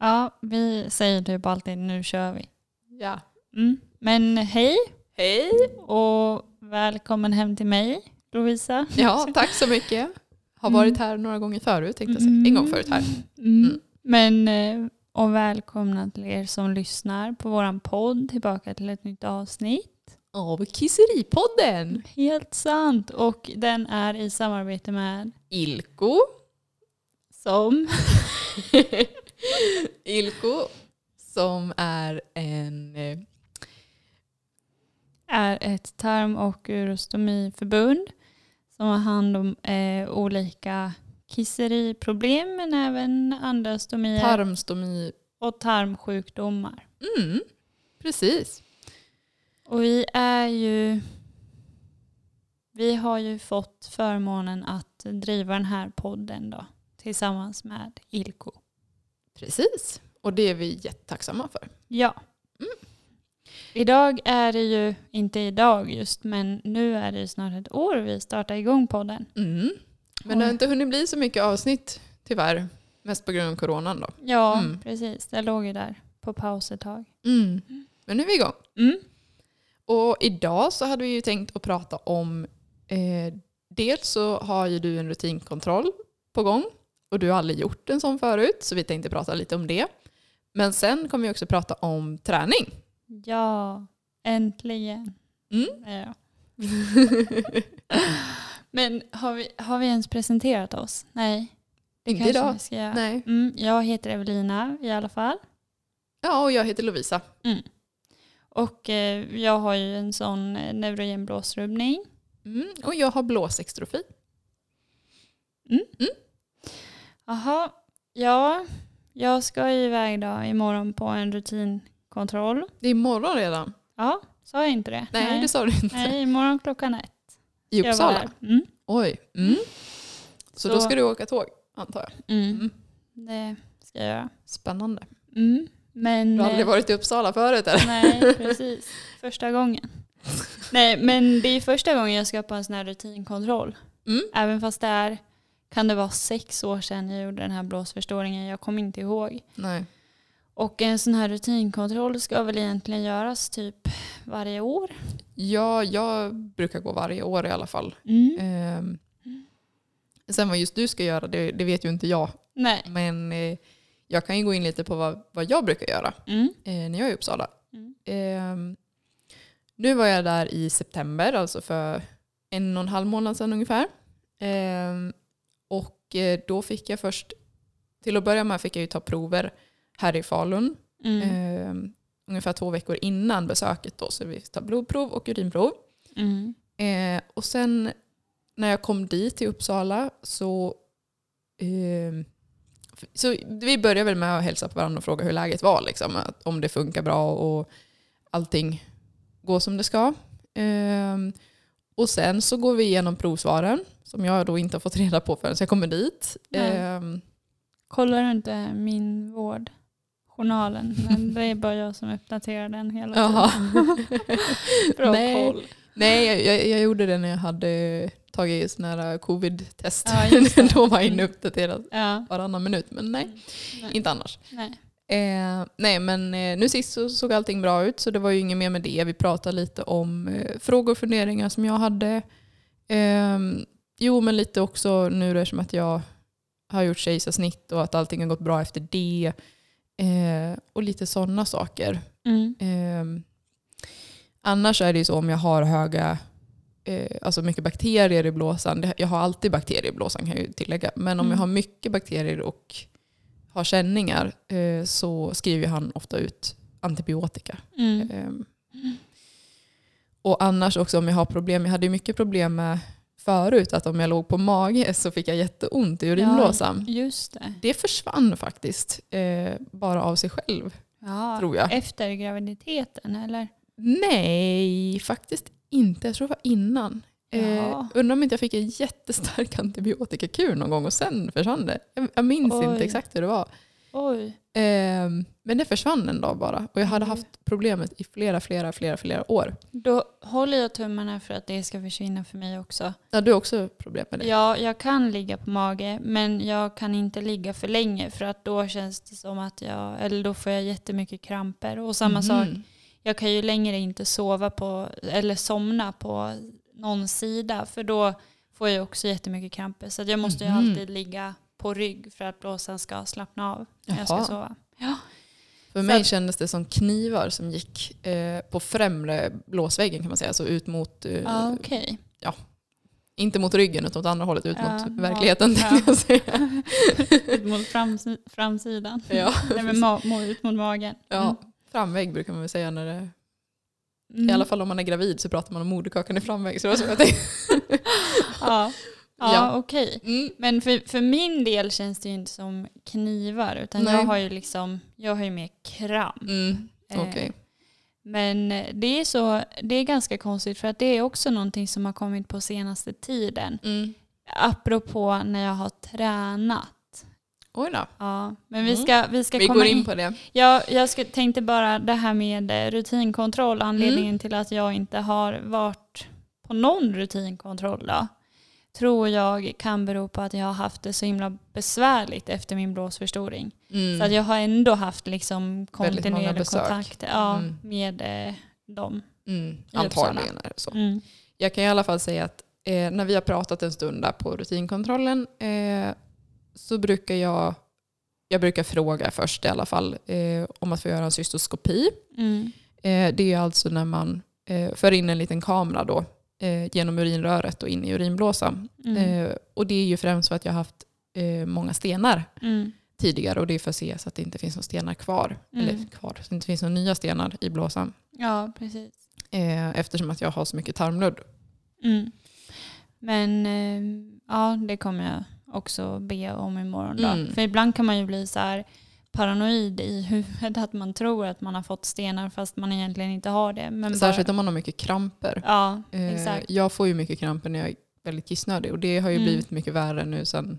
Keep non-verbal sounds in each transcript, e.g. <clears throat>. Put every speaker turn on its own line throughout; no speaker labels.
Ja, vi säger typ alltid nu kör vi.
Ja.
Mm. Men hej
Hej!
och välkommen hem till mig, Lovisa.
Ja, tack så mycket. Har varit här några gånger förut tänkte jag säga. En gång förut här.
Mm.
Mm.
Men, eh, och välkomna till er som lyssnar på våran podd tillbaka till ett nytt avsnitt.
Av Kisseripodden!
Helt sant. Och den är i samarbete med
Ilko.
som
<laughs> Ilko som är en... eh,
är ett tarm och urostomiförbund som har hand om eh, olika kisseriproblem men även andra stomier
Tarmstomi.
och tarmsjukdomar.
Mm, precis.
Och vi är ju vi har ju fått förmånen att driva den här podden då tillsammans med Ilko.
Precis. Och det är vi jättetacksamma för.
Ja. Mm. Idag är det ju, inte idag just, men nu är det ju snart ett år vi startar igång podden.
Mm. Men det har
Oj.
inte hunnit bli så mycket avsnitt tyvärr. Mest på grund av coronan då.
Ja,
Mm.
precis. Det låg ju där på paus ett tag.
Men nu är vi igång.
Mm.
Och idag så hade vi ju tänkt att prata om eh, dels så har ju du en rutinkontroll på gång och du har aldrig gjort en sån förut så vi tänkte prata lite om det. Men sen kommer vi också prata om träning.
Ja, äntligen. <laughs>
Mm.
Ja. men har vi, har vi ens presenterat oss? Nej. Det
Inte
kanske
idag.
vi ska göra.
Nej.
Mm, jag heter Evelina i alla fall.
Ja, och jag heter Lovisa.
Och eh, jag har ju en sån eh, neurogen blåsrubbning.
Mm, och jag har blåsextrofi.
Jaha, ja. Jag ska ju iväg då imorgon på en rutinkontroll.
Det är imorgon redan.
Ja, sa jag inte det?
Nej, det
Nej,
sa du inte.
Nej imorgon klockan ett.
I
ska jag vara
Uppsala.
där. Mm.
Oj. Mm. Så, då
Så-
ska du åka tåg, antar jag.
Mm.
Mm.
Det ska jag göra.
Spännande.
Mm. Men,
Du har
eh,
aldrig varit i Uppsala förut <laughs> eller?
Nej, precis. Första gången. Nej, men det är första gången jag ska på en sån här rutinkontroll.
Mm.
Även fast det är, kan det vara sex år sedan jag gjorde den här blåsförstoringen, jag kommer inte ihåg.
Nej.
Och en sån här rutinkontroll ska väl egentligen göras typ varje år.
Ja, jag brukar gå varje år i alla fall. Ehm, sen vad just du ska göra, det, det vet ju inte jag.
Nej.
Men eh, jag kan ju gå in lite på vad, vad jag brukar göra
Mm.
eh, när jag är i Uppsala.
Mm.
Ehm, nu var jag där i september, alltså för en och en halv månad sedan ungefär. Ehm, och eh, då fick jag först, till att börja med fick jag ju ta prover här i Falun.
Mm.
Ehm, ungefär två veckor innan besöket då, så vi fick ta blodprov och urinprov.
Mm.
Eh, och sen när jag kom dit till Uppsala så, eh, så vi började väl med att hälsa på varandra och fråga hur läget var. Liksom, att om det funkar bra och allting går som det ska. Eh, och sen så går vi igenom provsvaren som jag då inte har fått reda på förrän jag kommer dit.
Nej.
Eh,
<laughs> Kollar du inte min vård? Journalen, men det är bara jag som uppdaterar den hela tiden.
jaha.
Bra
Nej.
koll.
Nej, jag, jag, jag gjorde det när jag hade tagit sån här covid-test.
Ja, just det.
<laughs> då var jag inne och uppdaterad
Ja.
varannan minut, men nej,
Nej.
inte annars.
Nej.
Eh, nej, men eh, nu sist så såg allting bra ut så det var ju inget mer med det. Vi pratade lite om eh, frågor och funderingar som jag hade. Ehm, jo, men lite också nu eftersom att jag har gjort kejsarsnitt och att allting har gått bra efter det. Eh, och lite sådana saker.
Mm.
Ehm, annars är det ju så om jag har höga, eh, alltså mycket bakterier i blåsan. Det- Jag har alltid bakterier i blåsan kan jag ju tillägga. Men om
Mm.
jag har mycket bakterier och har känningar eh, så skriver han ofta ut antibiotika.
Mm.
Ehm, och annars också om jag har problem, jag hade ju mycket problem med förut att om jag låg på mage så fick jag jätteont i urinblåsan.
Just det.
Det försvann faktiskt eh, bara av sig själv
Ja.
tror jag.
Efter graviditeten eller?
Nej, faktiskt inte. Jag tror det var innan. Eh,
Jaha.
undrar om inte jag fick en <laughs> jättestark antibiotikakur någon gång och sen försvann det. Jag, jag minns
Oj.
inte exakt hur det var.
Oj.
Ehm, men det försvann en dag bara. Och jag hade
Mm.
haft problemet i flera, flera, flera, flera år.
Då håller jag tummarna för att det ska försvinna för mig också.
Ja, du har också problem med det?
Ja, jag kan ligga på mage men jag kan inte ligga för länge för att då känns det som att jag, eller då får jag jättemycket kramper. Och samma sak,
Mhm.
jag kan ju längre inte sova på, eller somna på någon sida för då får jag också jättemycket kramper. Så att jag måste
Mhm.
ju alltid ligga på rygg för att blåsan ska slappna av när jag ska
Jaha.
sova.
För
Så
mig
att-
kändes det som knivar som gick eh, på främre blåsväggen kan man säga. Så ut mot, eh,
Ja,
<laughs>
okej.
inte mot ryggen utan åt andra hållet, ut
Ja,
mot verkligheten.
ja.
tänkte jag säga.
<laughs> Ut mot frams- framsidan.
Ja,
<laughs> Nej, men ma- må- ut mot magen.
ja. Framvägg brukar man väl säga när det
Mm.
I alla fall om man är gravid så pratar man om moderkakan i framväg. Så det var så jag
<laughs>
tänkte.
Ja, ja,
<laughs> Ja.
okej.
Mm.
Men för, för min del känns det ju inte som knivar utan
Nej.
jag har ju liksom, jag har ju mer kramp.
Mm. Okej.
Eh, Men eh, det är, så, det är ganska konstigt för att det är också någonting som har kommit på senaste tiden.
Mm.
Apropå när jag har tränat.
Oj då.
Ja, men vi
Mm.
ska, vi ska
Vi
komma
går in på det.
Ja, jag ska, tänkte bara det här med eh, rutinkontroll,
Mm.
anledningen till att jag inte har varit på någon rutinkontroll då, tror jag kan bero på att jag har haft det så himla besvärligt efter min blåsförstoring.
Mm.
Så att jag har ändå haft liksom
Väldigt många
kontinuerlig
besök.
kontakt ja,
Mm.
med eh, dem.
Mm.
i
Antagligen är det så.
Mm.
Jag kan i alla fall säga att eh, när vi har pratat en stund där på rutinkontrollen eh, så brukar jag, jag brukar fråga först i alla fall eh, om att få göra en cystoskopi.
Mm.
Eh, det är alltså när man eh, för in en liten kamera då, eh, genom urinröret och in i urinblåsan.
Mm.
Eh, och det är ju främst för att jag har haft eh, många stenar
Mm.
tidigare och det är för att se så att det inte finns några stenar kvar.
Mm.
Eller kvar, så det inte finns några nya stenar i blåsan.
Ja, precis.
Eh, eftersom att jag har så mycket tarmludd.
Mm. Men eh, ja, det kommer jag också be om imorgon då.
Mm.
För ibland kan man ju bli så här paranoid i huvudet att man tror att man har fått stenar fast man egentligen inte har det. Men bara-
Särskilt om man har mycket kramper.
Ja,
Eh,
exakt.
Jag får ju mycket kramper när jag är väldigt kissnödig och det har ju
Mm.
blivit mycket värre nu sen,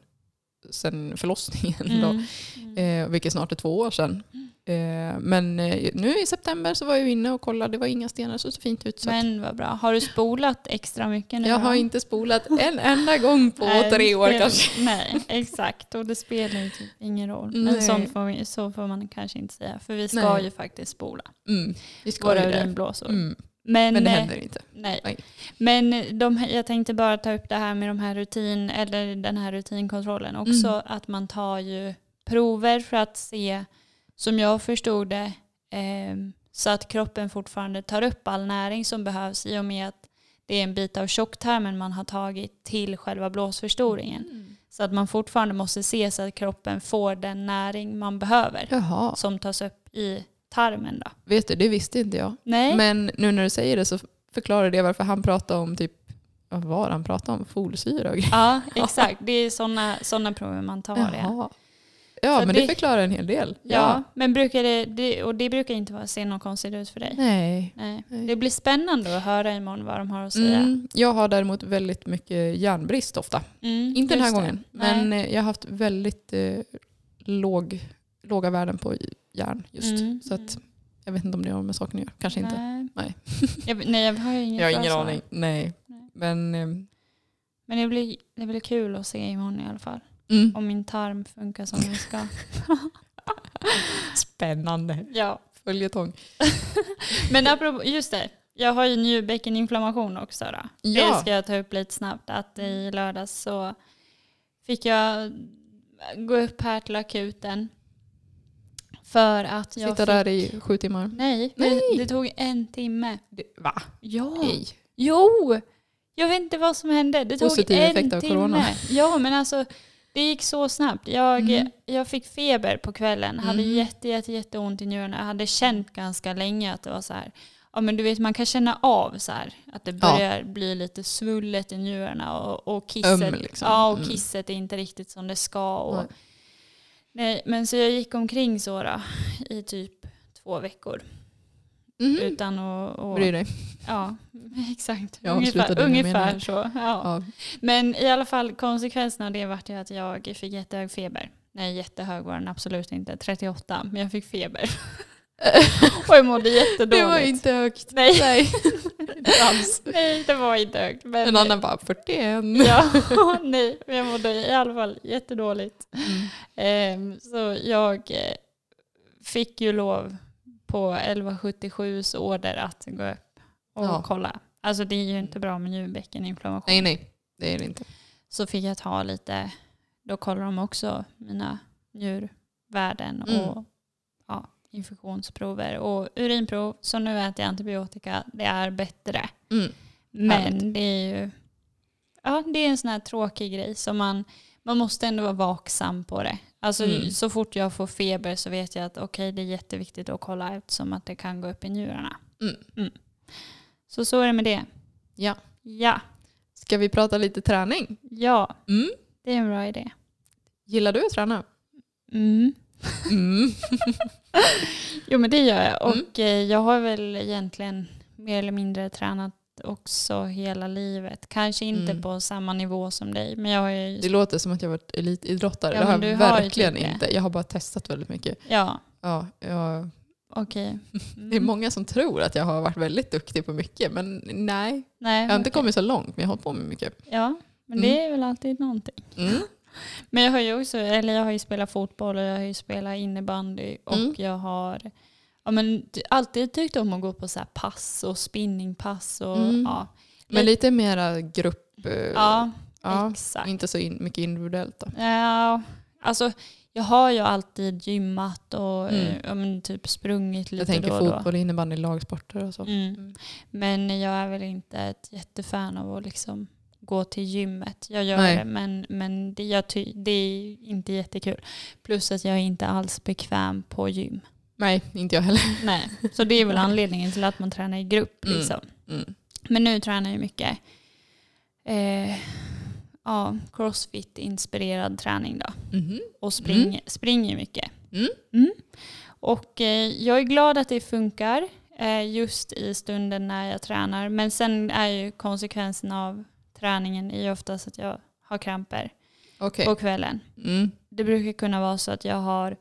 sen förlossningen. <laughs> Då.
Mm. Mm.
Eh, vilket snart är två år sedan. Eh, men eh, nu i september så var jag ju inne och kollade, det var inga stenar, så det såg fint ut. Så att
Men vad bra. Har du spolat extra mycket nu
jag
då?
har inte spolat en enda gång på
Nej, det
tre år
spelar-
kanske.
<laughs> Nej, exakt. Och det spelar ju typ ingen roll. Men
Nej.
sånt får, vi- så får man kanske inte säga. För vi ska
Nej.
ju faktiskt spola
Mm, vi ska
våra
ju det.
urinblåsor.
Mm,
Men,
men det
eh,
händer inte.
Nej.
Nej.
Men de, här- jag tänkte bara ta upp det här med de här rutin, eller den här rutinkontrollen också.
Mm.
Att man tar ju prover för att se, som jag förstod det, ehm, så att kroppen fortfarande tar upp all näring som behövs i och med att det är en bit av tjocktarmen man har tagit till själva blåsförstoringen.
Mm.
Så att man fortfarande måste se så att kroppen får den näring man behöver
Jaha,
som tas upp i tarmen. Då.
vet du, det visste inte jag.
Nej?
Men nu när du säger det så förklarar det varför han pratade om typ, vad var det han pratade om? Folsyra och grejer. <laughs>
Ja, exakt. Det är sådana såna prover man tar. Ja.
Jaha. Ja,
Så
men det...
det-
förklarar en hel del.
Ja, men brukar det, det, och det brukar inte vara, se något konstigt ut för dig.
Nej.
Nej.
Nej.
Det blir spännande att höra imorgon vad de har att säga.
Mm, jag har däremot väldigt mycket järnbrist ofta.
Mm,
Inte den här
just det.
gången,
Nej.
men eh, jag har haft väldigt eh, låg, låga värden på järn just.
Mm,
Så att
mm.
jag vet inte om det har med saken att göra. Kanske inte.
Nej.
Nej.
<laughs> jag, nej, jag har ju inget
Jag
bra
har ingen
svar.
aning. Nej.
Nej.
Men eh,
Men det blir, det blir kul att se imorgon i alla fall.
mm.
Om min tarm funkar som den
<laughs>
ska.
spännande.
ja.
Följetong.
Men apropå, just det. Jag har ju njurbäckeninflammation också. Då. Det
Ja.
ska jag ta upp lite snabbt. Att i lördags så fick jag gå upp här till akuten. För att jag
Sitta
fick...
där i sju timmar.
Nej,
Nej.
Det, det tog en timme.
Va?
Ja.
Nej.
Jo! Oh, Jag vet inte vad som hände. Det tog
Positiv
en
effekt av
timme.
corona.
Ja, men alltså det gick så snabbt. Jag,
Mm.
jag fick feber på kvällen, hade
Mm.
jätte, jätte, jätteont i njurarna. Jag hade känt ganska länge att det var så här. Ja, men du vet, man kan känna av så här, att det
Ja.
börjar bli lite svullet i njurarna och, och kisset,
Öm, liksom.
ja,
Mm.
och kisset är inte riktigt som det ska. Och,
Nej.
nej. men så jag gick omkring så då, i typ två veckor
Mm.
utan att... att-
Bry dig.
Ja, <laughs> exakt.
Jag
ungefär
avslutade mina meningar.
ungefär så. Ja.
Ja.
Men i alla fall konsekvensen av det vart ju att jag fick jättehög feber. Nej, jättehög var den absolut inte. 38, men jag fick feber. <laughs> och jag mådde jättedåligt.
Det var inte högt.
Nej, <laughs>
Nej. Inte alls.
nej det var inte högt. Men
En annan bara 41.
Ja, <laughs> nej, men jag mådde i alla fall jättedåligt.
Mm.
Ehm, så jag eh, fick ju lov på 1177s order att gå upp och
Ja.
kolla. Alltså det är ju inte bra med njurbäckeninflammation.
Nej, nej. Det är det inte.
Så fick jag ta lite, då kollar de också mina njurvärden
Mm.
och ja, infektionsprover och urinprov. Så nu äter jag antibiotika, det är bättre.
Mm.
Men
Härligt.
det är ju ja, det är en sån här tråkig grej som man, man måste ändå vara vaksam på det. Alltså
Mm.
så fort jag får feber så vet jag att okej det är jätteviktigt att kolla eftersom att det kan gå upp i njurarna.
Mm.
Så så är det med det.
Ja.
Ja,
Ska vi prata lite träning?
ja
Mm.
det är en bra idé.
Gillar du att träna?
Mm.
Mm.
Jo men det gör jag och eh, jag har väl egentligen mer eller mindre tränat också hela livet. Kanske inte
Mm.
på samma nivå som dig men jag har ju...
Det låter som att jag varit elitidrottare.
Ja,
det har
men
jag
du har ju
verkligen
typ det.
inte. Jag har bara testat väldigt mycket.
Ja,
Ja, jag,
okej.
<laughs> det är
Mm.
många som tror att jag har varit väldigt duktig på mycket, men nej.
Nej,
Jag har inte
okej.
kommit så långt, men jag har hållit på med mycket.
Ja, men
Mm.
det är väl alltid någonting.
Mm.
Men jag har ju också, eller jag har ju spelat fotboll och jag har ju spelat innebandy och
Mm.
jag har ja, men, ty- alltid tyckt om att gå på så här pass och spinningpass och
Mm.
ja.
Men lite mera grupp, eh,
Ja,
ja,
exakt.
inte så in, mycket individuellt. Då.
Ja, alltså jag har ju alltid gymmat och
Mm.
eh, ja, men, typ sprungit lite
Jag tänker
då och då.
fotboll, innebandy, lagsporter och så.
Mm.
Mm.
Men jag är väl inte ett jättefan av att liksom gå till gymmet. Jag gör
Nej.
det men, men det, jag ty- det är inte jättekul. Plus att jag är inte alls bekväm på gym.
Nej, inte jag heller.
Nej. Så det är väl anledningen till att man tränar i grupp.
Mm.
Liksom.
Mm.
Men nu tränar jag mycket eh, ja, crossfit-inspirerad träning då.
Mhm.
Och spring, springer mycket.
Mm.
Och eh, jag är glad att det funkar eh, just i stunden när jag tränar. Men sen är ju konsekvensen av träningen är ju oftast att jag har kramper
Okej.
på kvällen.
Mm.
Det brukar kunna vara så att jag har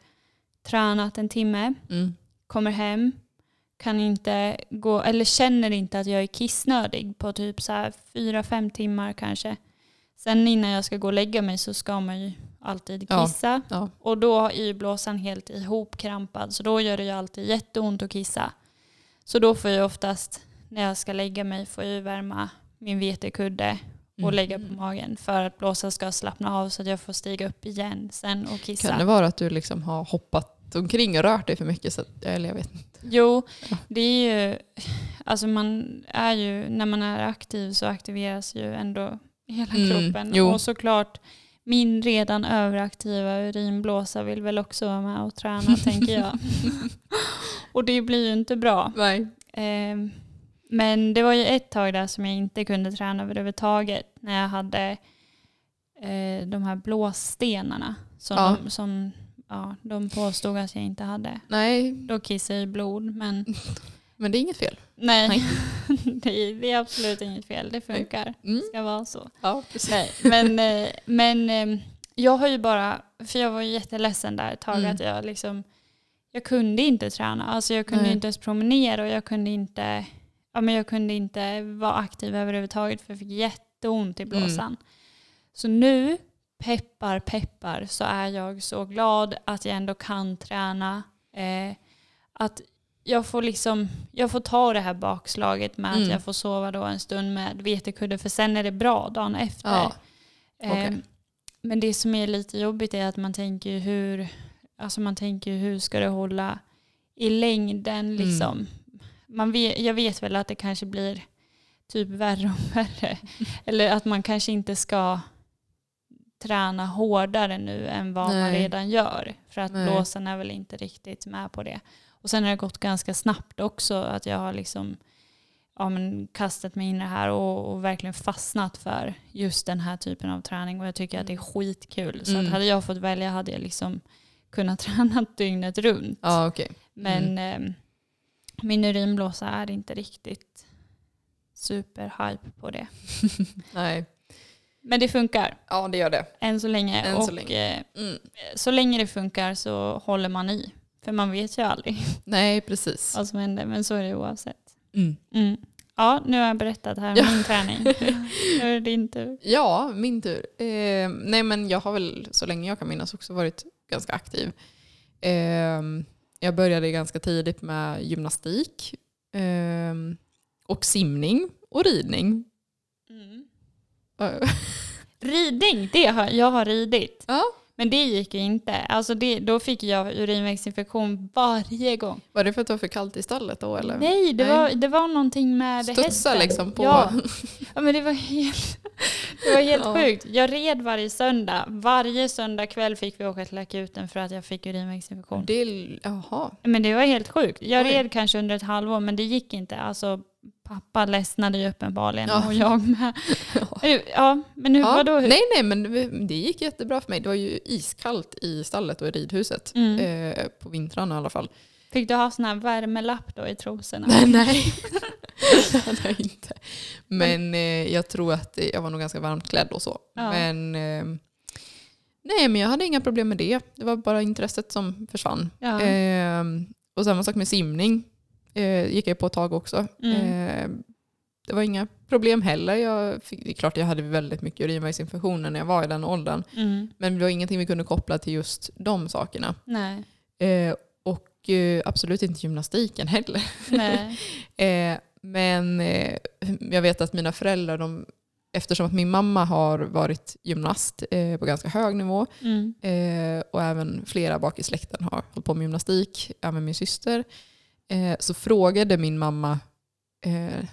tränat en timme,
Mm.
kommer hem, kan inte gå, eller känner inte att jag är kissnödig på typ så här fyra, fem timmar kanske. Sen innan jag ska gå och lägga mig så ska man ju alltid
Ja.
kissa.
Ja.
Och då är ju blåsan helt ihopkrampad så då gör det ju alltid jätteont att kissa. Så då får jag oftast när jag ska lägga mig får jag ju värma min vetekudde och
Mm.
lägga på magen för att blåsan ska slappna av så att jag får stiga upp igen sen och
Kan det
kissa.
vara att du liksom har hoppat omkring och rört dig för mycket? Så att, eller jag vet inte.
Jo,
Ja.
det är ju, alltså man är ju, när man är aktiv så aktiveras ju ändå hela
Mm,
kroppen.
jo.
Och såklart min redan överaktiva urinblåsa vill väl också vara med och
<laughs>
träna tänker jag. Och det blir ju inte bra.
Nej.
Ehm, men det var ju ett tag där som jag inte kunde träna överhuvudtaget när jag hade eh, de här blåstenarna som,
Ja.
de, som ja, de påstod att jag inte hade.
Nej,
Då kissade jag ju blod men
men det är inget fel.
nej,
Nej.
<laughs> det, det är absolut inget fel. Det funkar.
Mm.
Det ska vara så.
Ja, precis.
Nej, men, eh, men eh, jag har ju bara, för jag var ju jätteledsen där ett tag
Mm.
att jag liksom, jag kunde inte träna. Alltså jag kunde
Nej.
inte ens promenera och jag kunde inte, ja men jag kunde inte vara aktiv överhuvudtaget för jag fick jätteont
Mm.
i blåsan. Så nu, peppar peppar, så är jag så glad att jag ändå kan träna. Eh, att jag får, liksom, jag får ta det här bakslaget med att
Mm.
jag får sova då en stund med vetekudde för sen är det bra dagen efter.
Ja. okej.
Eh, Men det som är lite jobbigt är att man tänker ju hur, alltså man tänker ju hur ska det hålla i
Mm.
längden liksom. Man vet, jag vet väl att det kanske blir typ värre och
<laughs>
värre. Eller att man kanske inte ska träna hårdare nu än vad man
Nej.
redan gör. För att
Nej.
blåsan är väl inte riktigt med på det. Och sen har det gått ganska snabbt också att jag har liksom ja, men kastat mig in i det här och, och verkligen fastnat för just den här typen av träning. Och jag tycker att det är skitkul. Så att
Mm.
hade jag fått välja hade jag liksom kunnat <laughs> träna dygnet runt.
Ja, okej.
Men
Mm.
eh, min urinblåsa är inte riktigt superhype på det.
Nej.
Men det funkar
Ja, det gör det.
än så länge.
Än
och
så länge.
Eh,
Mm.
så länge det funkar så håller man i. För man vet ju
<laughs>
aldrig
Nej, precis.
vad som händer. Men så är det oavsett.
Mm.
Mm. Ja, nu har jag berättat här om
Ja.
min
<laughs>
träning. nu är det din tur.
Ja, min tur. Eh, nej, men jag har väl så länge jag kan minnas också varit ganska aktiv. Eh, jag började ganska tidigt med gymnastik eh, och simning och ridning. <laughs> Mm. Eh,
Ridning, det har, jag har ridit.
Ja.
Men det gick ju inte. Alltså det, då fick jag urinvägsinfektion varje gång.
Var det för att det var för kallt i stallet då? Eller?
Nej, det,
Nej.
Var, det var någonting med
Studsa
hästen.
liksom på...
Ja. ja, men det var helt, det var helt
Ja.
sjukt. Jag red varje söndag. Varje söndag kväll fick vi åka till akuten för att jag fick urinvägsinfektion.
Det, jaha.
Men det var helt sjukt. Jag
Oj.
red kanske under ett halvår men det gick inte. Alltså, pappa ledsnade ju uppenbarligen
Ja.
och jag med.
<laughs>
Ja, men hur,
Ja.
vadå?
Nej, nej, men det gick jättebra för mig. Det var ju iskallt i stallet och i ridhuset.
Mm.
Eh, på vintrarna i alla fall.
Fick du ha sån här värmelapp då i trosorna?
Nej, nej.
<laughs>
det hade jag inte. Men eh, jag tror att eh, jag var nog ganska varmt klädd och så.
Ja.
Men, eh, nej, men jag hade inga problem med det. Det var bara intresset som försvann.
Ja.
Eh, och samma sak med simning. Eh, gick jag på ett tag också.
Mm.
Eh, det var inga problem heller. Jag fick, det är klart jag hade väldigt mycket urinvägsinfektioner när jag var i den åldern.
Mm.
Men det var ingenting vi kunde koppla till just de sakerna.
Nej.
Eh, och eh, absolut inte gymnastiken heller.
Nej.
Eh, men eh, jag vet att mina föräldrar, de, eftersom att min mamma har varit gymnast eh, på ganska hög nivå
Mm.
eh, och även flera bak i släkten har hållit på med gymnastik, även min syster, eh, så frågade min mamma eh,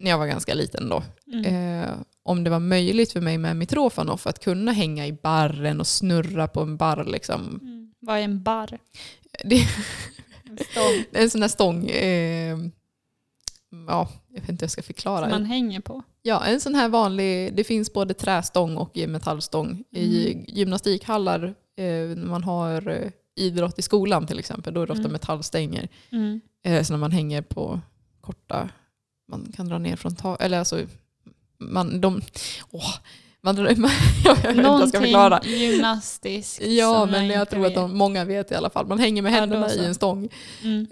när jag var ganska liten då,
Mm.
eh, om det var möjligt för mig med mitrofanoff att kunna hänga i barren och snurra på en barr. Liksom.
Mm. Vad är en barr?
<laughs> Det,
En stång
en sån där stång. Eh, ja, jag vet inte hur jag ska förklara.
som man hänger på?
Ja, en sån här vanlig, det finns både trästång och i metallstång i
Mm.
gymnastikhallar. Eh, när man har eh, idrott i skolan till exempel, då är det ofta
Mm.
metallstänger.
Mm.
Eh, så när man hänger på korta, man kan dra ner från tak, eller alltså, man, de, åh, man drar, <laughs> man, <laughs> jag vet inte hur jag ska
Någonting
förklara.
gymnastiskt
Ja,
som
men jag
inte
tror att de, många vet i alla fall. Man hänger med
Ja, då
händerna
så.
i en stång.
vet. Mm.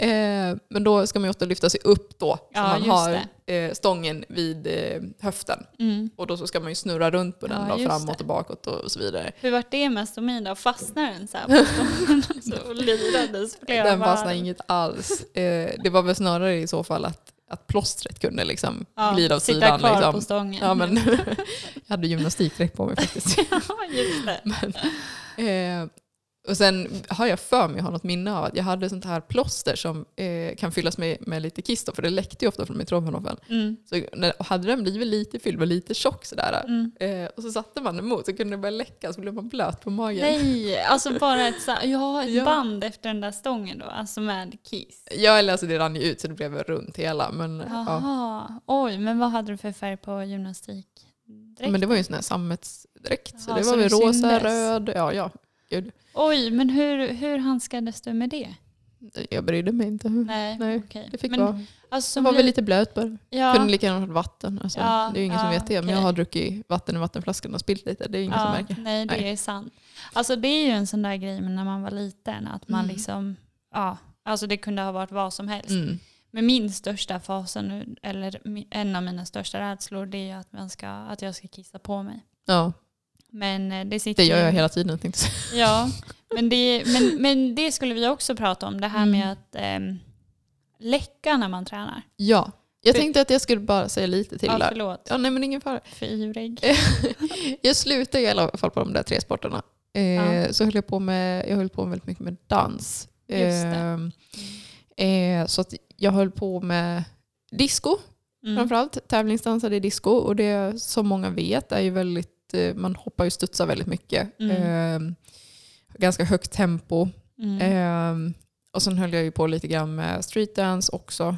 Eh, men då ska man ju ofta lyfta sig upp då, så
Ja,
man
just
har eh, stången vid eh, höften.
Mm.
Och då så ska man ju snurra runt på den
Ja,
då,
just
framåt
det.
och bakåt och så vidare.
Hur vart det med stomin då? Fastnade den så här
<laughs>
på stången? Alltså, och lirades flera
den
varv?
fastnade inget alls. Eh, det var väl snarare i så fall att, att plåstret kunde liksom
Ja,
glida åt
sitta
sidan.
kvar
liksom.
på stången.
ja, men, <laughs> jag hade gymnastikdräkt på mig faktiskt.
<laughs> Ja, just det.
<laughs> Eh, och sen har jag för mig, jag har något minne av att jag hade sånt här plåster som eh, kan fyllas med, med lite kiss då, för det läckte ju ofta från mitrofenofen.
Mm.
Så när, och hade den blivit lite fylld och lite tjock sådär,
Mm.
eh, och så satte man emot så kunde det börja läcka så blev man blöt på magen.
Nej, alltså bara ett, så här, ja, ett
Ja.
band efter den där stången då, alltså med kiss.
Ja, eller alltså det rann ju ut så det blev runt hela. Men, ja.
Jaha, oj, men vad hade du för färg på gymnastik?
men det var ju en sån här sammetsdräkt. Så
Ja,
det
så
var väl
det
rosa,
syndes.
röd. Ja, ja. Gud,
Oj, men hur, hur handskades du med det?
jag brydde mig inte.
Nej,
Mm, Nej,
okej.
Det fick
men,
vara.
Alltså,
Jag
som
var väl
li-
lite blöt bara. Kunde
ja,
lika gärna varit vatten. Alltså,
Ja,
det är ju ingen som
ja,
vet det. Men jag
okej.
har druckit vatten i vattenflaskan och spillt lite. Det är ju ingen som
ja,
märker.
nej, det
Nej.
är sant. Alltså det är ju en sån där grej när man var liten, att man
Mm.
liksom, ja, alltså det kunde ha varit vad som helst.
Mm.
Men min största fasa nu, eller mi- en av mina största rädslor, det är ju att, man ska, att jag ska kissa på mig.
Ja,
Men eh, det sitter
det gör
ju-
jag hela tiden tänkte jag säga.
Ja, men det,
<laughs>
men, men det skulle vi också prata om, det här med
Mm.
att ehm, läcka när man tränar.
Ja, jag
För-
tänkte att jag skulle bara säga lite till
Ja,
där.
förlåt,
Ja, Eh, nej men ingen fara.
för ivrig.
Jag slutade i alla fall på de där tre sporterna. Eh,
Ja.
Så höll jag på med, jag höll på med väldigt mycket med dans.
Just
Eh, eh, så att jag höll på med disco
Mm.
framförallt. Tävlingsdansade i disco och det som många vet är ju väldigt, eh, man hoppar ju och studsar väldigt mycket. Eh, ganska högt tempo.
Mm.
Eh, och sen höll jag ju på lite grann med streetdance också.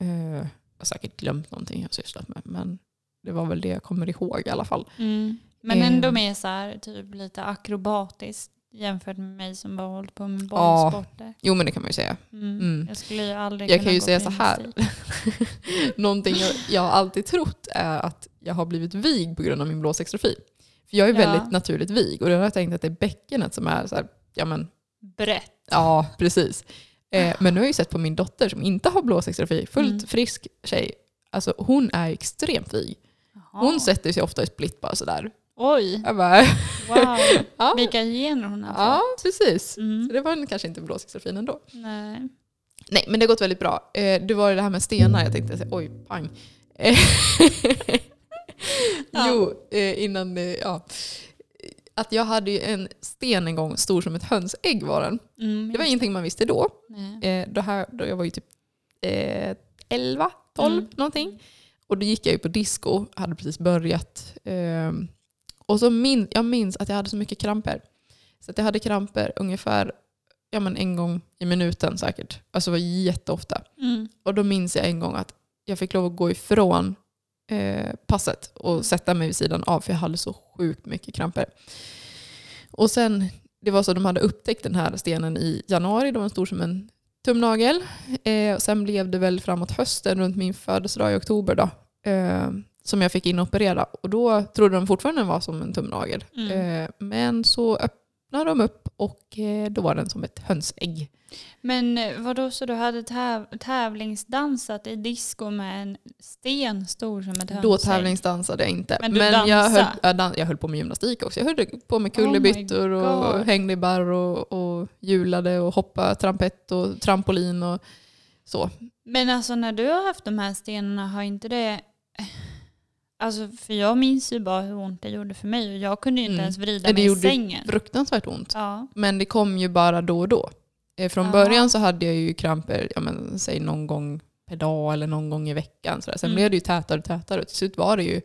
Eh, jag har säkert glömt någonting jag har sysslat med men det var väl det jag kommer ihåg i alla fall.
Mm. Men ändå
ehm.
med så här, typ lite akrobatiskt jämfört med mig som bara hållit på med
Ja.
bollsporter.
Jo men det kan man ju säga.
Mm.
Mm.
Jag skulle ju aldrig
Jag
kunna
kan ju
gå
säga
på
så här.
gymnastik.
Någonting jag, jag har alltid trott är att jag har blivit vig på grund av min blåsextrofi. För jag är
Ja.
väldigt naturligt vig och då har jag tänkt att det är bäckenet som är så här, ja men
Brett.
Ja, precis. Eh, men nu har jag ju sett på min dotter som inte har blåsextrofi, fullt
Mm.
frisk tjej. Alltså hon är ju extremt vig. Hon sätter sig ofta i split bara sådär.
Oj,
Jag bara,
wow.
<laughs> ja,
Vilka gener hon har
ja,
fått.
precis. Så
Mm.
det var en- kanske inte blåsextrofin ändå.
Nej.
Nej, men det har gått väldigt bra. Eh, det var ju det här med stenar, jag tänkte säga, oj, pang. Eh, <laughs>
Ja.
Jo, eh, innan, eh, ja. Att jag hade ju en sten en gång, stor som ett hönsägg var den.
Mm,
Det var
just
ingenting man visste då.
Nej.
Eh, då här, då jag var ju typ eh, 11, 12
Mm.
någonting. Och då gick jag ju på disco, hade precis börjat. Eh, och så min, jag minns att jag hade så mycket kramper. Så att jag hade kramper ungefär ja, men en gång i minuten säkert. Alltså det var jätteofta.
Mm.
Och då minns jag en gång att jag fick lov att gå ifrån eh, passet och sätta mig vid sidan av för jag hade så sjukt mycket kramper. Och sen, det var så att de hade upptäckt den här stenen i januari, den var stor som en tumnagel. Eh, och sen blev det väl framåt hösten, runt min födelsedag i oktober då, eh, som jag fick inoperera. Och då trodde de fortfarande den var som en tumnagel.
Mm.
Eh, men så öppnade de upp och eh, då var den som ett hönsägg.
Men eh, vadå, så du hade täv- tävlingsdansat i disco med en sten stor som ett hönsägg?
Då tävlingsdansade jag inte.
Men du
jag,
dansade?
höll, jag, dan- jag höll på med gymnastik också. Jag höll på med
Oh my
kullerbyttor och
God.
hängde i barr och, och hjulade och hoppade trampett och trampolin och så.
Men alltså när du har haft de här stenarna, har inte det... eh, Alltså för jag minns ju bara hur ont det gjorde för mig och jag kunde ju inte
Mm.
ens vrida
Nej, det
mig i
gjorde ju
sängen.
Fruktansvärt ont.
Ja.
Men det kom ju bara då och då. Eh, Från
Ja.
början så hade jag ju kramper, ja, men, säg någon gång per dag eller någon gång i veckan. Sådär. Sen
Mm.
blev det ju tätare och tätare och till slut var det ju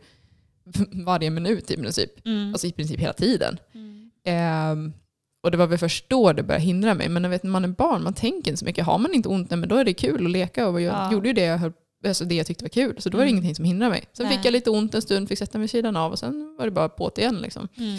<laughs> varje minut i princip.
Mm.
Alltså i princip hela tiden.
Mm.
Ehm, och det var väl först då det började hindra mig. Men jag vet, när man är barn, man tänker inte så mycket. Har man inte ont, nej, men då är det kul att leka. Och jag
Ja.
gjorde ju det jag, höll, alltså det jag tyckte var kul, så då var det
Mm.
ingenting som hindrade mig. Sen
Nej.
fick jag lite ont en stund, fick sätta mig vid sidan av och sen var det bara på't igen. Liksom.
Mm.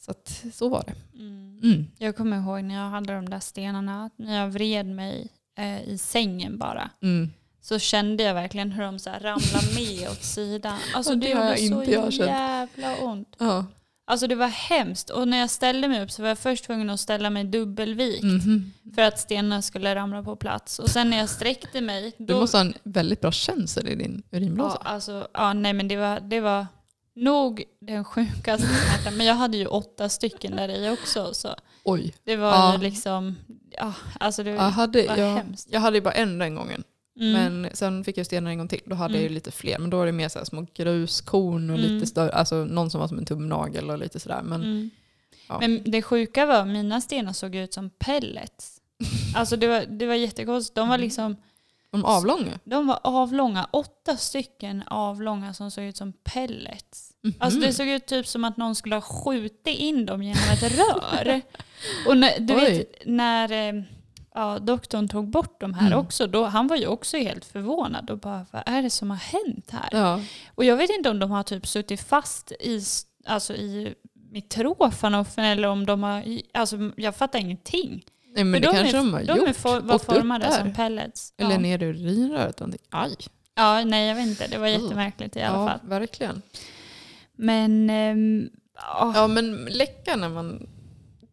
Så att, så var det.
Mm.
Mm.
Jag kommer ihåg när jag hade de där stenarna, när jag vred mig eh, i sängen bara.
Mm.
Så kände jag verkligen hur de så här ramlade med åt sidan. Alltså
<laughs> Ja,
det,
det
gjorde
har jag
så
inte jag känt.
jävla ont.
Ja.
Alltså det var hemskt. Och när jag ställde mig upp så var jag först tvungen att ställa mig dubbelvikt.
Mhm.
För att stenarna skulle ramla på plats. Och sen när jag sträckte mig.
Du
Då,
måste ha en väldigt bra känsel i din
ja,
urinblåsa.
alltså, ja, nej men det var, det var nog den sjukaste smärtan. Men jag hade ju åtta stycken där i också. Så
Oj.
det var
Ja.
ju liksom, ja, alltså det
Jag hade,
var
jag,
hemskt.
jag hade ju bara en den gången.
Mm,
Men sen fick jag stenar en gång till. Då hade jag
Mm.
ju lite fler. Men då var det mer så här små gruskorn och
Mm.
lite större. Alltså någon som var som en tumnagel och lite sådär. Men
mm.
ja.
Men det sjuka var mina stenar såg ut som pellets. Alltså det var, det var jättekonstigt. De var
Mm.
liksom,
de avlånga.
de var avlånga. Åtta stycken avlånga som såg ut som pellets. Alltså
Mm.
det såg ut typ som att någon skulle ha skjutit in dem genom ett rör. <laughs> Och när, du
Oj.
vet, när eh, ja, doktorn tog bort de här
Mm.
också, då, han var ju också helt förvånad och bara vad är det som har hänt här?
Ja.
Och jag vet inte om de har typ suttit fast i, s- alltså i mitrofanofen eller om de har, i- alltså jag fattar ingenting.
Nej, men
För
det
de
kanske
är,
de har
de
gjort.
är for, var
Åkt upp
formade
där.
som pellets.
Eller
ja.
ner i urinröret. eller någonting. Aj.
ja, nej jag vet inte, det var
Mm.
jättemärkligt i alla
Ja,
fall.
verkligen.
Men ehm, ja.
Ja, men läcka när man...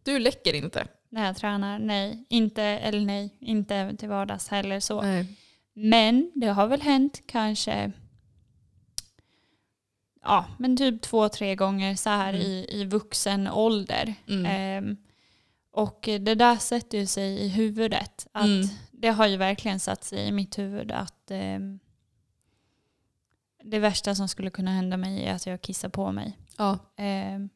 Du läcker inte.
när jag tränar. Nej, inte, eller nej, inte till vardags heller så.
Nej.
Men det har väl hänt kanske ja, men typ två, tre gånger så här
Mm.
i, i vuxen ålder.
Mm.
Ehm, och det där sätter ju sig i huvudet. Att
Mm.
Det har ju verkligen satt sig i mitt huvud att ehm, det värsta som skulle kunna hända mig är att jag kissar på mig.
Ja.
Ehm,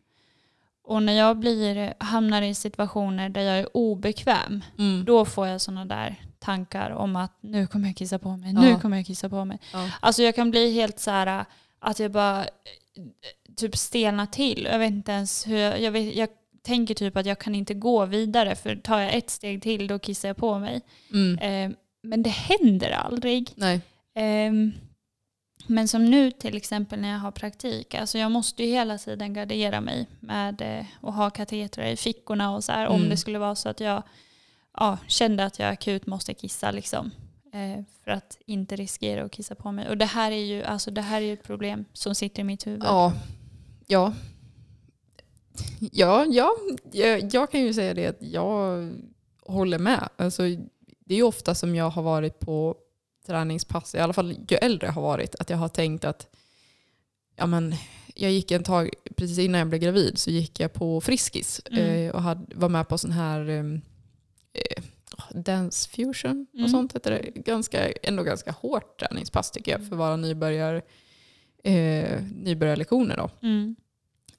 och när jag blir, hamnar i situationer där jag är obekväm,
Mm.
då får jag sådana där tankar om att nu kommer jag kissa på mig, nu
Ja.
kommer jag kissa på mig.
Ja.
Alltså jag kan bli helt så här att jag bara eh, typ stelnar till. Jag vet inte ens hur jag, jag, vet, jag tänker typ att jag kan inte gå vidare för tar jag ett steg till då kissar jag på mig.
Mm.
Ehm, men det händer aldrig.
Nej.
Ehm, men som nu till exempel när jag har praktik, alltså jag måste ju hela tiden gardera mig med eh, och ha katetrar i fickorna och så här om
Mm.
det skulle vara så att jag ja, kände att jag akut måste kissa liksom. Eh, för att inte riskera att kissa på mig. Och det här är ju, alltså, det här är ju ett problem som sitter i mitt huvud.
Ja. Ja. Ja, ja. Jag, jag kan ju säga det att jag håller med. Alltså, det är ju ofta som jag har varit på träningspass, i alla fall ju äldre jag har varit, att jag har tänkt att ja, men, jag gick en tag, precis innan jag blev gravid, så gick jag på Friskis
Mm.
eh, och hade, var med på sån här eh, eh, Dance fusion och
Mm.
sånt heter det. Ganska, ändå ganska hårt träningspass tycker jag för att vara nybörjar, eh, nybörjarlektioner. Då.
Mm.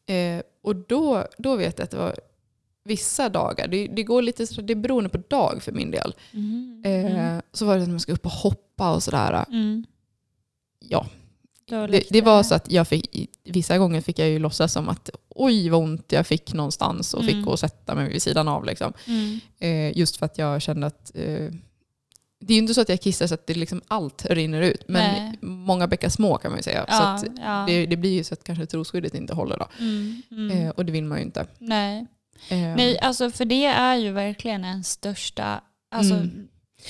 Eh, och då, då vet jag att det var vissa dagar, det, det går lite så- det är beroende på dag för min del.
Mhm.
Eh, Så var det att man skulle upp och hoppa och sådär.
Mm.
Ja,
Då
det,
läckte
det var så att jag fick, i- vissa gånger fick jag ju låtsas som att oj vad ont jag fick någonstans och
Mm.
fick gå och sätta mig vid sidan av. Liksom.
Mm.
Eh, just för att jag kände att eh, det är ju inte så att jag kissar så att det liksom allt rinner ut, men
Nej.
många bäckar små kan man ju säga.
Ja,
så att
ja.
det, det blir ju så att kanske trosskyddet inte håller då.
Mm. Mm.
Eh, och det vill man ju inte.
Nej.
Eh,
Nej, alltså för det är ju verkligen en största... Alltså,
Mm.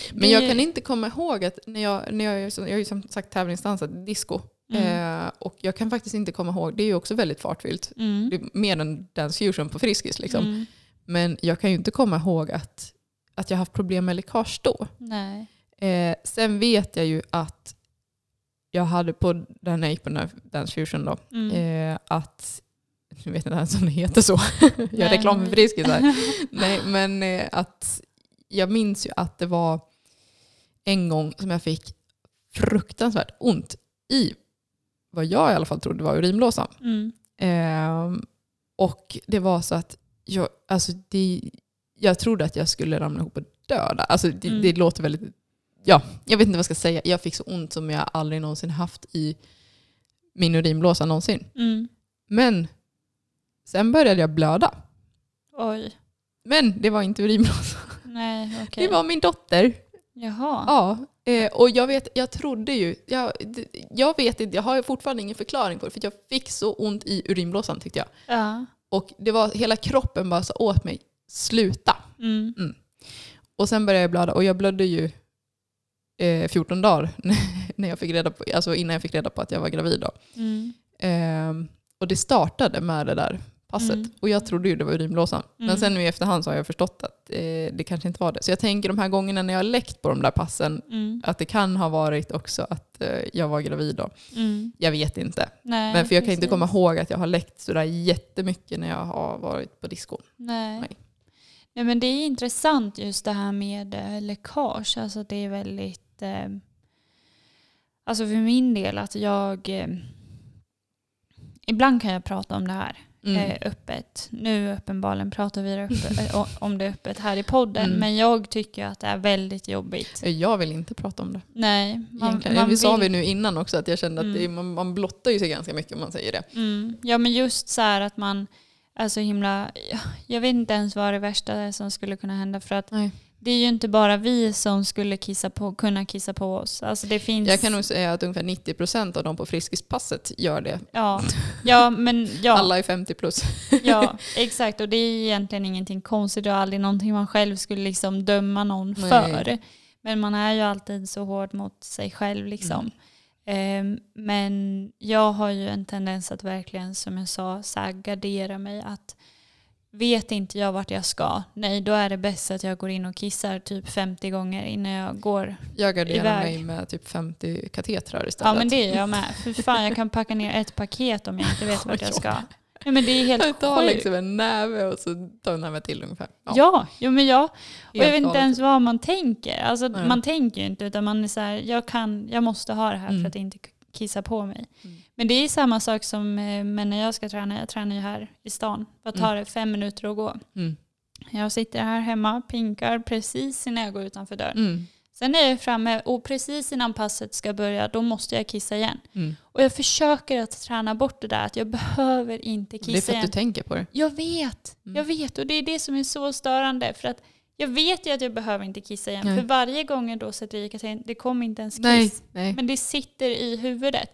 det-
Men jag kan inte komma ihåg att när jag, när jag, jag har ju som sagt tävlingsdansat disco.
Mm.
Eh, och jag kan faktiskt inte komma ihåg, det är ju också väldigt fartfyllt.
Mm.
Det är mer än dance fusion på Friskis. Liksom.
Mm.
Men jag kan ju inte komma ihåg att, att jag haft problem med läckage då.
Nej.
Eh, sen vet jag ju att jag hade på, när jag gick på den här dance fusion då,
Mm.
eh, att nu vet jag inte ens om det heter så. <laughs> jag
Nej.
är reklam för Friskis här.
<laughs>
Nej, men eh, att jag minns ju att det var en gång som jag fick fruktansvärt ont i vad jag i alla fall trodde var urinblåsan.
Mm.
Ehm, och det var så att jag, alltså det, jag trodde att jag skulle ramla ihop och dö där. Alltså det,
Mm.
det låter väldigt... Ja, jag vet inte vad jag ska säga. Jag fick så ont som jag aldrig någonsin haft i min urinblåsa någonsin.
Mm.
Men sen började jag blöda.
Oj.
Men det var inte urinblåsa.
Nej, okej.
Det var min dotter.
Jaha.
Ja, eh, och jag, vet, jag trodde ju... Jag, d- jag vet inte, jag har fortfarande ingen förklaring på det. För jag fick så ont i urinblåsan tyckte jag.
Ja.
Och det var hela kroppen bara sa åt mig, sluta.
Mm.
Och sen började jag blöda och jag blödde ju eh, 14 dagar <laughs> när jag fick reda på, alltså innan jag fick reda på att jag var gravid. Då.
Mm.
Ehm, och det startade med det där passet.
Mm.
Och jag trodde ju det var urinblåsan.
Mm.
Men sen nu i efterhand så har jag förstått att eh, det kanske inte var det. Så jag tänker de här gångerna när jag har läckt på de där passen
Mm.
att det kan ha varit också att eh, jag var gravid då.
Mm.
Jag vet inte.
Nej,
Men för jag kan inte
precis.
komma ihåg att jag har läckt sådär jättemycket när jag har varit på disco.
Nej.
Nej.
Nej, men det är intressant just det här med eh, läckage. Alltså det är väldigt... Eh, alltså för min del att jag... Eh, ibland kan jag prata om det här
Mm.
eh, öppet. Nu uppenbarligen pratar vi det
<laughs>
öppet, eh, o- om det öppet här i podden.
Mm.
Men jag tycker att det är väldigt jobbigt.
Eh, Jag vill inte prata om det.
Nej, man,
Egentligen.
man
vi sa
vill
vi nu innan också att jag kände att
Mm.
det, man, man blottar ju sig ganska mycket om man säger det.
Mm. Ja men just så här att man är så himla, ja, jag vet inte ens vad det värsta är som skulle kunna hända för att
Nej.
det är ju inte bara vi som skulle kissa på, kunna kissa på oss. Alltså det finns,
Jag kan nog säga att ungefär 90% av de på Friskispasset gör det.
ja, ja men ja,
Alla är 50 plus.
<laughs> ja, exakt och det är egentligen ingenting konstigt och aldrig någonting man själv skulle liksom döma någon
Nej.
för. Men man är ju alltid så hård mot sig själv liksom. Ehm, men jag har ju en tendens att verkligen, som jag sa, så här gardera mig. Att vet inte jag vart jag ska, nej då är det bäst att jag går in och kissar typ 50 gånger innan jag går.
Jag garderar
Iväg.
mig med typ 50 katetrar istället.
Ja men det gör jag med. För fan jag kan packa ner ett paket om jag inte vet <laughs> vart jag ska. Nej, men det är <laughs> helt
jag tar
sjukt.
liksom en näve och så tar jag en näve till ungefär.
Ja, jo, men jag, och jag
Helt
vet inte
galet.
ens vad man tänker. Alltså,
Nej.
Man tänker ju inte utan man är så här, jag, kan, jag måste ha det här
Mm.
för att inte k- kissa på mig.
Mm.
Men det är samma sak som eh, men när jag ska träna, jag tränar ju här i stan. Vad tar det fem minuter att gå?
Mm.
Jag sitter här hemma, pinkar precis innan jag går utanför dörren.
Mm.
Sen är jag framme och precis innan passet ska börja, då måste jag kissa igen.
Mm.
Och jag försöker att träna bort det där, att jag behöver inte
Det är
kissa
för att du
igen.
tänker på det.
Jag vet,
Mm.
jag vet och det är det som är så störande. För att jag vet ju att jag behöver inte kissa igen.
Nej.
För varje gång jag då sätter i katerin, det kommer inte ens kiss.
Nej, nej. Mm.
Men det sitter i huvudet.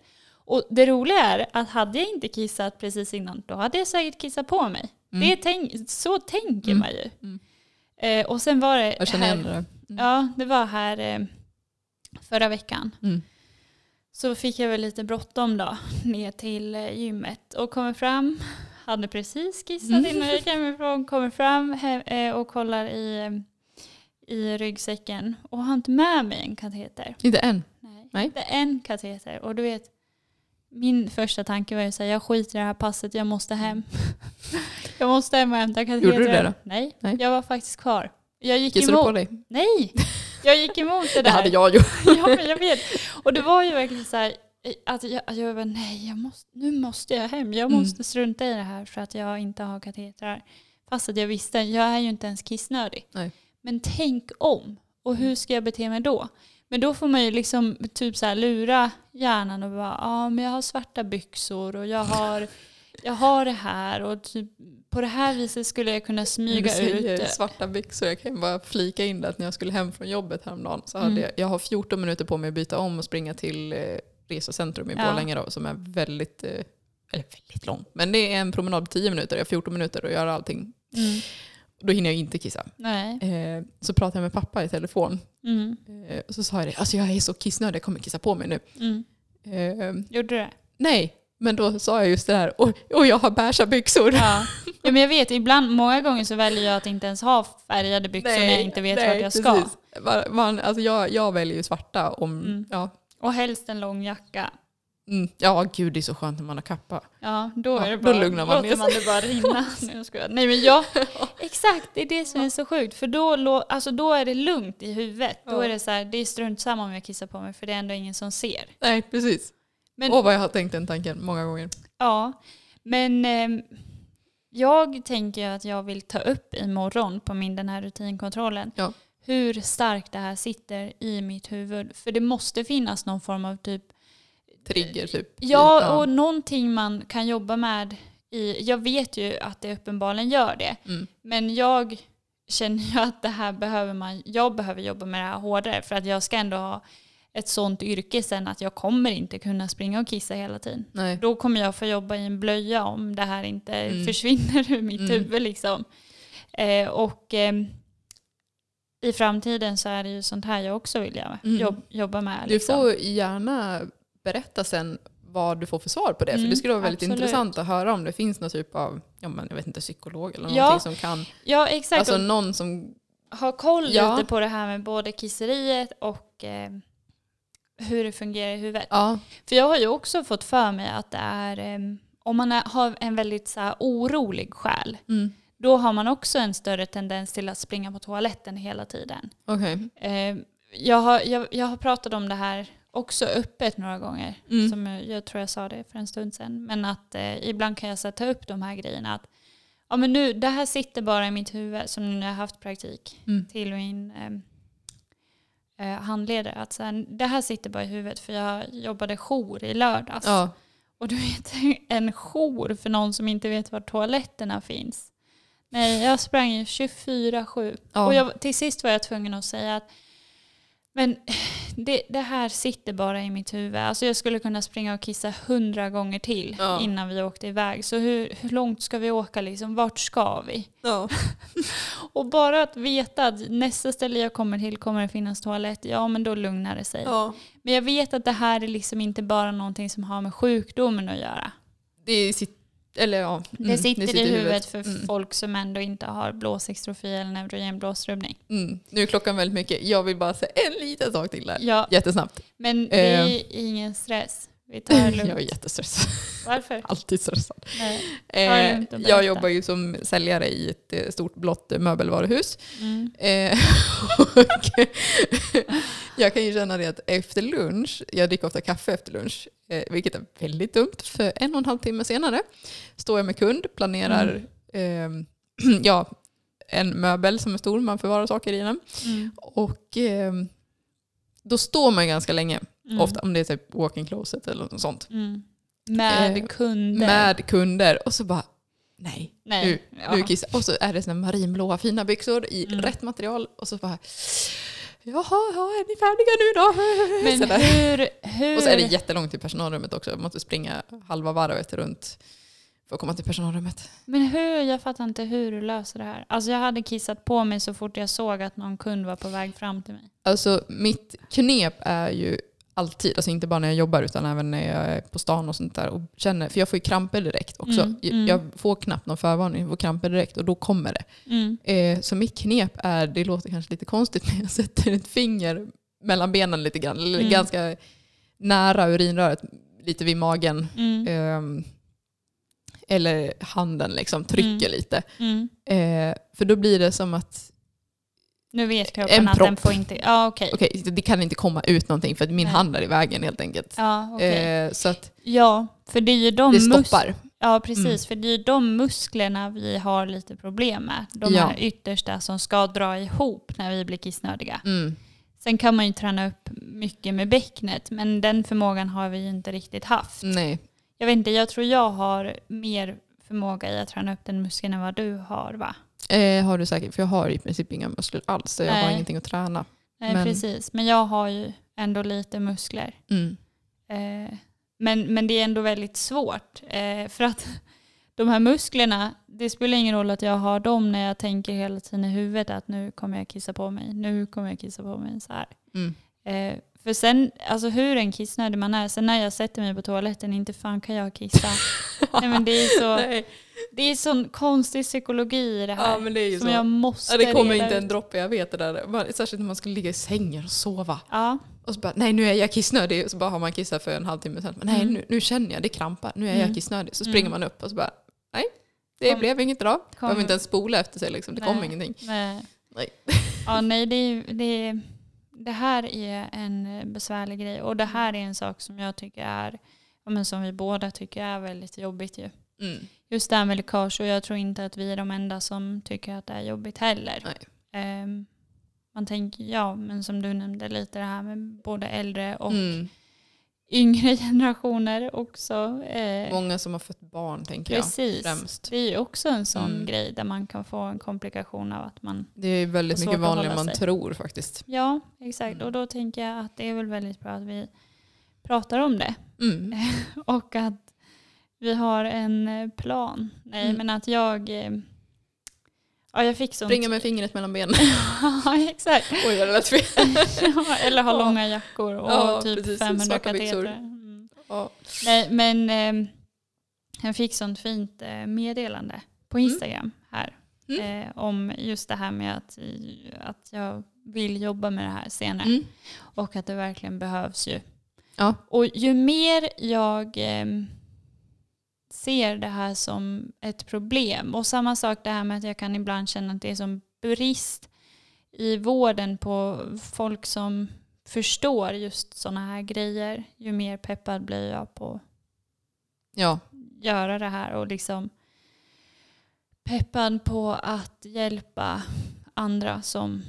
Och det roliga är att hade jag inte kissat precis innan, då hade jag säkert kissat på mig.
Mm.
Det tänk, så tänker
Mm.
man ju.
Mm.
Eh, och sen var det
Jag känner igen det. där.
Ja, det var här eh, förra veckan.
Mm.
Så fick jag väl lite bråttom då ner till eh, gymmet och kommer fram. Hade precis skissat innan jag gick hemifrån. Kommer fram he- eh, och kollar i, eh, i ryggsäcken och har inte med mig en kateter.
Inte än.
Nej.
Nej.
Inte en kateter. Och du vet, min första tanke var ju såhär, jag skiter i det här passet, jag måste hem. <laughs> jag måste hem och hämta kateter.
du det då?
Nej,
Nej.
jag var faktiskt kvar. Jag gick
Kissade du på
emot.
dig?
Nej, jag gick emot det där.
<laughs> Det hade jag gjort.
<laughs> ja, men jag vet. Och det var ju verkligen så här, eh, att jag, att jag bara, nej, jag måste, nu måste jag hem. Jag
Mm.
måste strunta i det här för att jag inte har katetrar. Fast att jag visste, jag är ju inte ens kissnödig.
Nej.
Men tänk om, och hur ska jag bete mig då? Men då får man ju liksom typ så här lura hjärnan och bara, ja men jag har svarta byxor och jag <laughs> har, jag har det här och typ, på det här viset skulle jag kunna
Du
smyga
säger
ut. eh,
svarta byxor. Jag kan ju bara flika in det att när jag skulle hem från jobbet häromdagen så hade
Mm.
jag, jag har 14 minuter på mig att byta om och springa till eh, resecentrum i
Ja.
Borlänge då, som är väldigt, eh, eller väldigt lång. Men det är en promenad på 10 minuter. Jag har 14 minuter att göra allting.
Mm.
Då hinner jag inte kissa.
Nej.
Eh, så pratade jag med pappa i telefon.
Mm.
Eh, och så sa jag det, alltså jag är så kissnödig, jag kommer kissa på mig nu.
Mm.
Eh,
Gjorde du det?
nej, men då sa jag just det här, och, och jag har beiga byxor.
Ja. ja, men jag vet. Ibland, många gånger så väljer jag att inte ens ha färgade byxor när liksom jag inte vet vart jag ska.
precis. Va- Man, alltså jag, jag väljer ju svarta om,
Mm.
ja.
Och helst en lång jacka.
Mm, ja gud det är så skönt när man har kappa.
Ja, då,
Ja,
är det
då
bara,
lugnar man ner
låter man det bara
<laughs>
rinna. Nu ska jag, nej men jag, exakt, det är det som är så sjukt. För då, lå- alltså, då är det lugnt i huvudet. Då
Ja.
är det så här, det är strunt samma om jag kissar på mig för det är ändå ingen som ser.
Nej precis.
Men-
Åh vad jag har tänkt den tanken många gånger.
Ja, men ehm, jag tänker ju att jag vill ta upp imorgon på min den här rutinkontrollen
Ja.
hur starkt det här sitter i mitt huvud. För det måste finnas någon form av typ,
Trigger typ.
Eh, ja och någonting man kan jobba med i, jag vet ju att det uppenbarligen gör det,
Mm.
men jag känner ju att det här behöver man, jag behöver jobba med det här hårdare för att jag ska ändå ha ett sånt yrke sen att jag kommer inte kunna springa och kissa hela tiden.
Nej.
Då kommer jag få jobba i en blöja om det här inte
Mm.
försvinner ur mitt
Mm.
huvud. Liksom. Eh, och ehm, i framtiden så är det ju sånt här jag också vill göra,
Mm.
jobb, jobba med.
Du
Liksom.
får gärna berätta sen vad du får för svar på det.
Mm,
för det skulle vara väldigt
absolut.
intressant att höra om det finns någon typ av, ja men jag vet inte, psykolog eller
Ja,
någonting som kan,
Ja exakt,
alltså
och
någon som,
ha koll
Ja.
lite på det här med både kisseriet och ehm, hur det fungerar i huvudet.
ja,
För jag har ju också fått för mig att det är, ehm, om man är, har en väldigt så här, orolig själ,
mm,
då har man också en större tendens till att springa på toaletten hela tiden.
okej.
Eh, jag, har, jag, jag har pratat om det här också öppet några gånger.
Mm.
Som jag, jag tror jag sa det för en stund sedan. Men att eh, ibland kan jag så här, ta upp de här grejerna. Att, ja, men nu, det här sitter bara i mitt huvud som nu när jag har haft praktik
Mm.
till min ehm, eh, eh, handledare. Att, så här, det här sitter bara i huvudet för jag jobbade jour i lördags.
Ja,
Och du vet <laughs> en jour för någon som inte vet var toaletterna finns. Nej, jag sprang ju 24-7.
Ja.
Och jag, till sist var jag tvungen att säga att men <sighs> det, det här sitter bara i mitt huvud. Alltså jag skulle kunna springa och kissa hundra gånger till
Ja.
innan vi åkte iväg. Så hur, hur långt ska vi åka liksom? Vart ska vi?
ja.
Och bara att veta att nästa ställe jag kommer till kommer det finnas toalett. Ja, men då lugnar det sig.
ja.
Men jag vet att det här är liksom inte bara någonting som har med sjukdomen att göra.
Det sitter, eller ja. mm,
Det sitter, i huvudet för
Mm.
folk som ändå inte har blåsextrofi eller neurogen blåsrubbning.
Mm. Nu är klockan väldigt mycket. Jag vill bara säga en liten sak till där.
Ja,
Jättesnabbt.
men det är
Eh.
ingen stress. Vi tar det
<laughs> Jag är
lugnt.
jättestressad.
Varför?
Alltid stressad.
Nej. det är
Eh,
lugnt att berätta.
jag jobbar ju som säljare i ett eh, stort blått eh, möbelvaruhus.
Mm.
Eh, och <laughs> jag kan ju känna det att efter lunch, jag dricker ofta kaffe efter lunch, eh, vilket är väldigt dumt, för en och en halv timme senare står jag med kund, planerar
Mm.
eh, <clears throat> ja, en möbel som är stor, man förvarar saker i den.
Mm.
Och eh, då står man ganska länge,
Mm.
ofta om det är typ walk-in closet eller något sånt,
Mm. Med
Eh,
kunder.
med kunder och så bara nej,
Nej. ja.
nu kissar. Och så är det såna marinblåa fina byxor i
Mm.
rätt material. Och så bara, jaha, ja, är ni färdiga nu då? <laughs>
Men
Sådär.
hur, hur...
Och så är det jättelångt till personalrummet också. Jag måste springa halva varvet runt. för att komma till personalrummet.
Men hur, jag fattar inte hur du löser det här. Alltså jag hade kissat på mig så fort jag såg att någon kund var på väg fram till mig.
Alltså mitt knep är ju alltid, alltså inte bara när jag jobbar utan även när jag är på stan och sånt där. Och känner, för jag får ju kramper direkt också.
Mm,
Jag-
mm.
Jag får knappt någon förvarning, jag får kramper direkt och då kommer det.
Mm.
Eh, så mitt knep är, det låter kanske lite konstigt, <laughs> men jag sätter ett finger mellan benen lite grann, eller
Mm.
ganska nära urinröret, lite vid magen.
Mm.
Ehm, eller handen liksom, trycker
Mm.
lite.
Mm.
Eh, för då blir det som att,
Nu vet kroppen
En
att den
propp.
får inte... Ja, okej.
okej, det kan inte komma ut någonting för att min
Nej.
hand är i vägen helt enkelt.
Ja, okej.
Eh, så att
ja, för det är ju de
det
mus-
stoppar.
Ja, precis.
Mm.
För det är ju de musklerna vi har lite problem med. De
Ja.
här yttersta som ska dra ihop när vi blir kissnödiga.
Mm.
Sen kan man ju träna upp mycket med bäcknet, men den förmågan har vi ju inte riktigt haft.
Nej.
Jag vet inte, jag tror jag har mer förmåga i att träna upp den muskeln än vad du har va?
Eh, har du säkert, för jag har i princip inga muskler alls, så jag har
Nej.
ingenting att träna.
Nej,
Men-
precis. Men jag har ju ändå lite muskler.
Mm.
Eh, men, men det är ändå väldigt svårt. Eh, för att <laughs> de här musklerna, det spelar ingen roll att jag har dem när jag tänker hela tiden i huvudet att nu kommer jag kissa på mig, nu kommer jag kissa på mig. Så här.
Mm.
Eh, för sen, alltså hur en kissnödig man är, sen när jag sätter mig på toaletten, inte fan kan jag
<laughs>
kissa. Nej, men det är så,
Nej,
det är sån konstig psykologi i det här.
ja, men det är ju
som
så.
jag måste
Ja, det kommer
reda
inte en
ut.
droppe, jag vet det där. Man- Särskilt när man skulle ligga i sängen och sova.
Ja,
Och så bara, nej nu är jag kissnödig. Och så bara har man kissat för en halvtimme sen. Men, nej
Mm.
nu, nu känner jag, det krampar. Nu är
Mm.
jag kissnödig. Så
Mm.
springer man upp och så bara, nej det
Kom.
blev inget idag. Behöver
Kom.
inte ens spola efter sig liksom, det kom
Nej.
ingenting.
Nej.
Nej.
<laughs> Ja, nej, det, är- det, är- det här är en eh, besvärlig grej. Och det här är en sak som jag tycker är, ja, men som vi båda tycker är väldigt jobbigt ju.
Mm.
Just det här med läckage och jag tror inte att vi är de enda som tycker att det är jobbigt heller.
Nej.
Ehm, man tänker, ja men som du nämnde lite det här med både äldre och
Mm.
yngre <laughs> generationer också. Eh,
Många som har fått barn tänker jag.
precis.
Främst.
Det är ju också en sån
Mm.
grej där man kan få en komplikation av att man
Det är väldigt
Och svårt
mycket
att
vanligare än
hålla
man
sig.
tror faktiskt.
Ja, exakt.
Mm.
Och då tänker jag att det är väl väldigt bra att vi pratar om det. <laughs>
Mm.
Och att vi har en eh, plan. Nej,
Mm.
men att jag... eh, Ja, jag fick sånt.
Springa med fingret mellan benen.
ja, exakt.
<laughs> Oj, det lät fel.
<laughs> Ja, Eller ha
Ja.
långa jackor och
Ja,
typ
precis.
500
Svarta byxor.
kateter. Mm.
Ja.
Nej, men eh, jag fick sånt fint eh, meddelande på
Mm.
Instagram här.
Mm.
Eh, om just det här med att, att jag vill jobba med det här senare.
Mm.
Och att det verkligen behövs ju.
Ja.
Och ju mer jag ehm, ser det här som ett problem och samma sak det här med att jag kan ibland känna att det är som brist i vården på folk som förstår just sådana här grejer ju mer peppad blir jag på
ja.
att göra det här och liksom peppad på att hjälpa andra som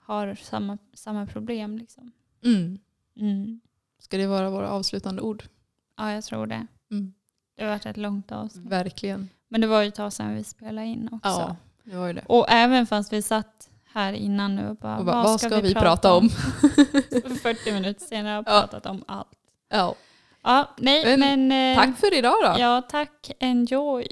har samma, samma problem. Liksom.
Mm.
Mm.
Ska det vara våra avslutande ord?
Ja, jag tror det.
Mm.
Det har varit ett långt avsnitt.
Verkligen.
Men det var ju ett tag sedan vi spelade in också.
Mm. Ja, det var ju det.
Och även fast vi satt här innan nu och bara,
Och bara, vad ska vi prata om? <laughs>
40 minuter senare har jag
Ja.
pratat om allt.
Ja.
Ja, nej, men...
Men
eh,
Tack för idag då.
Ja, tack. Enjoy.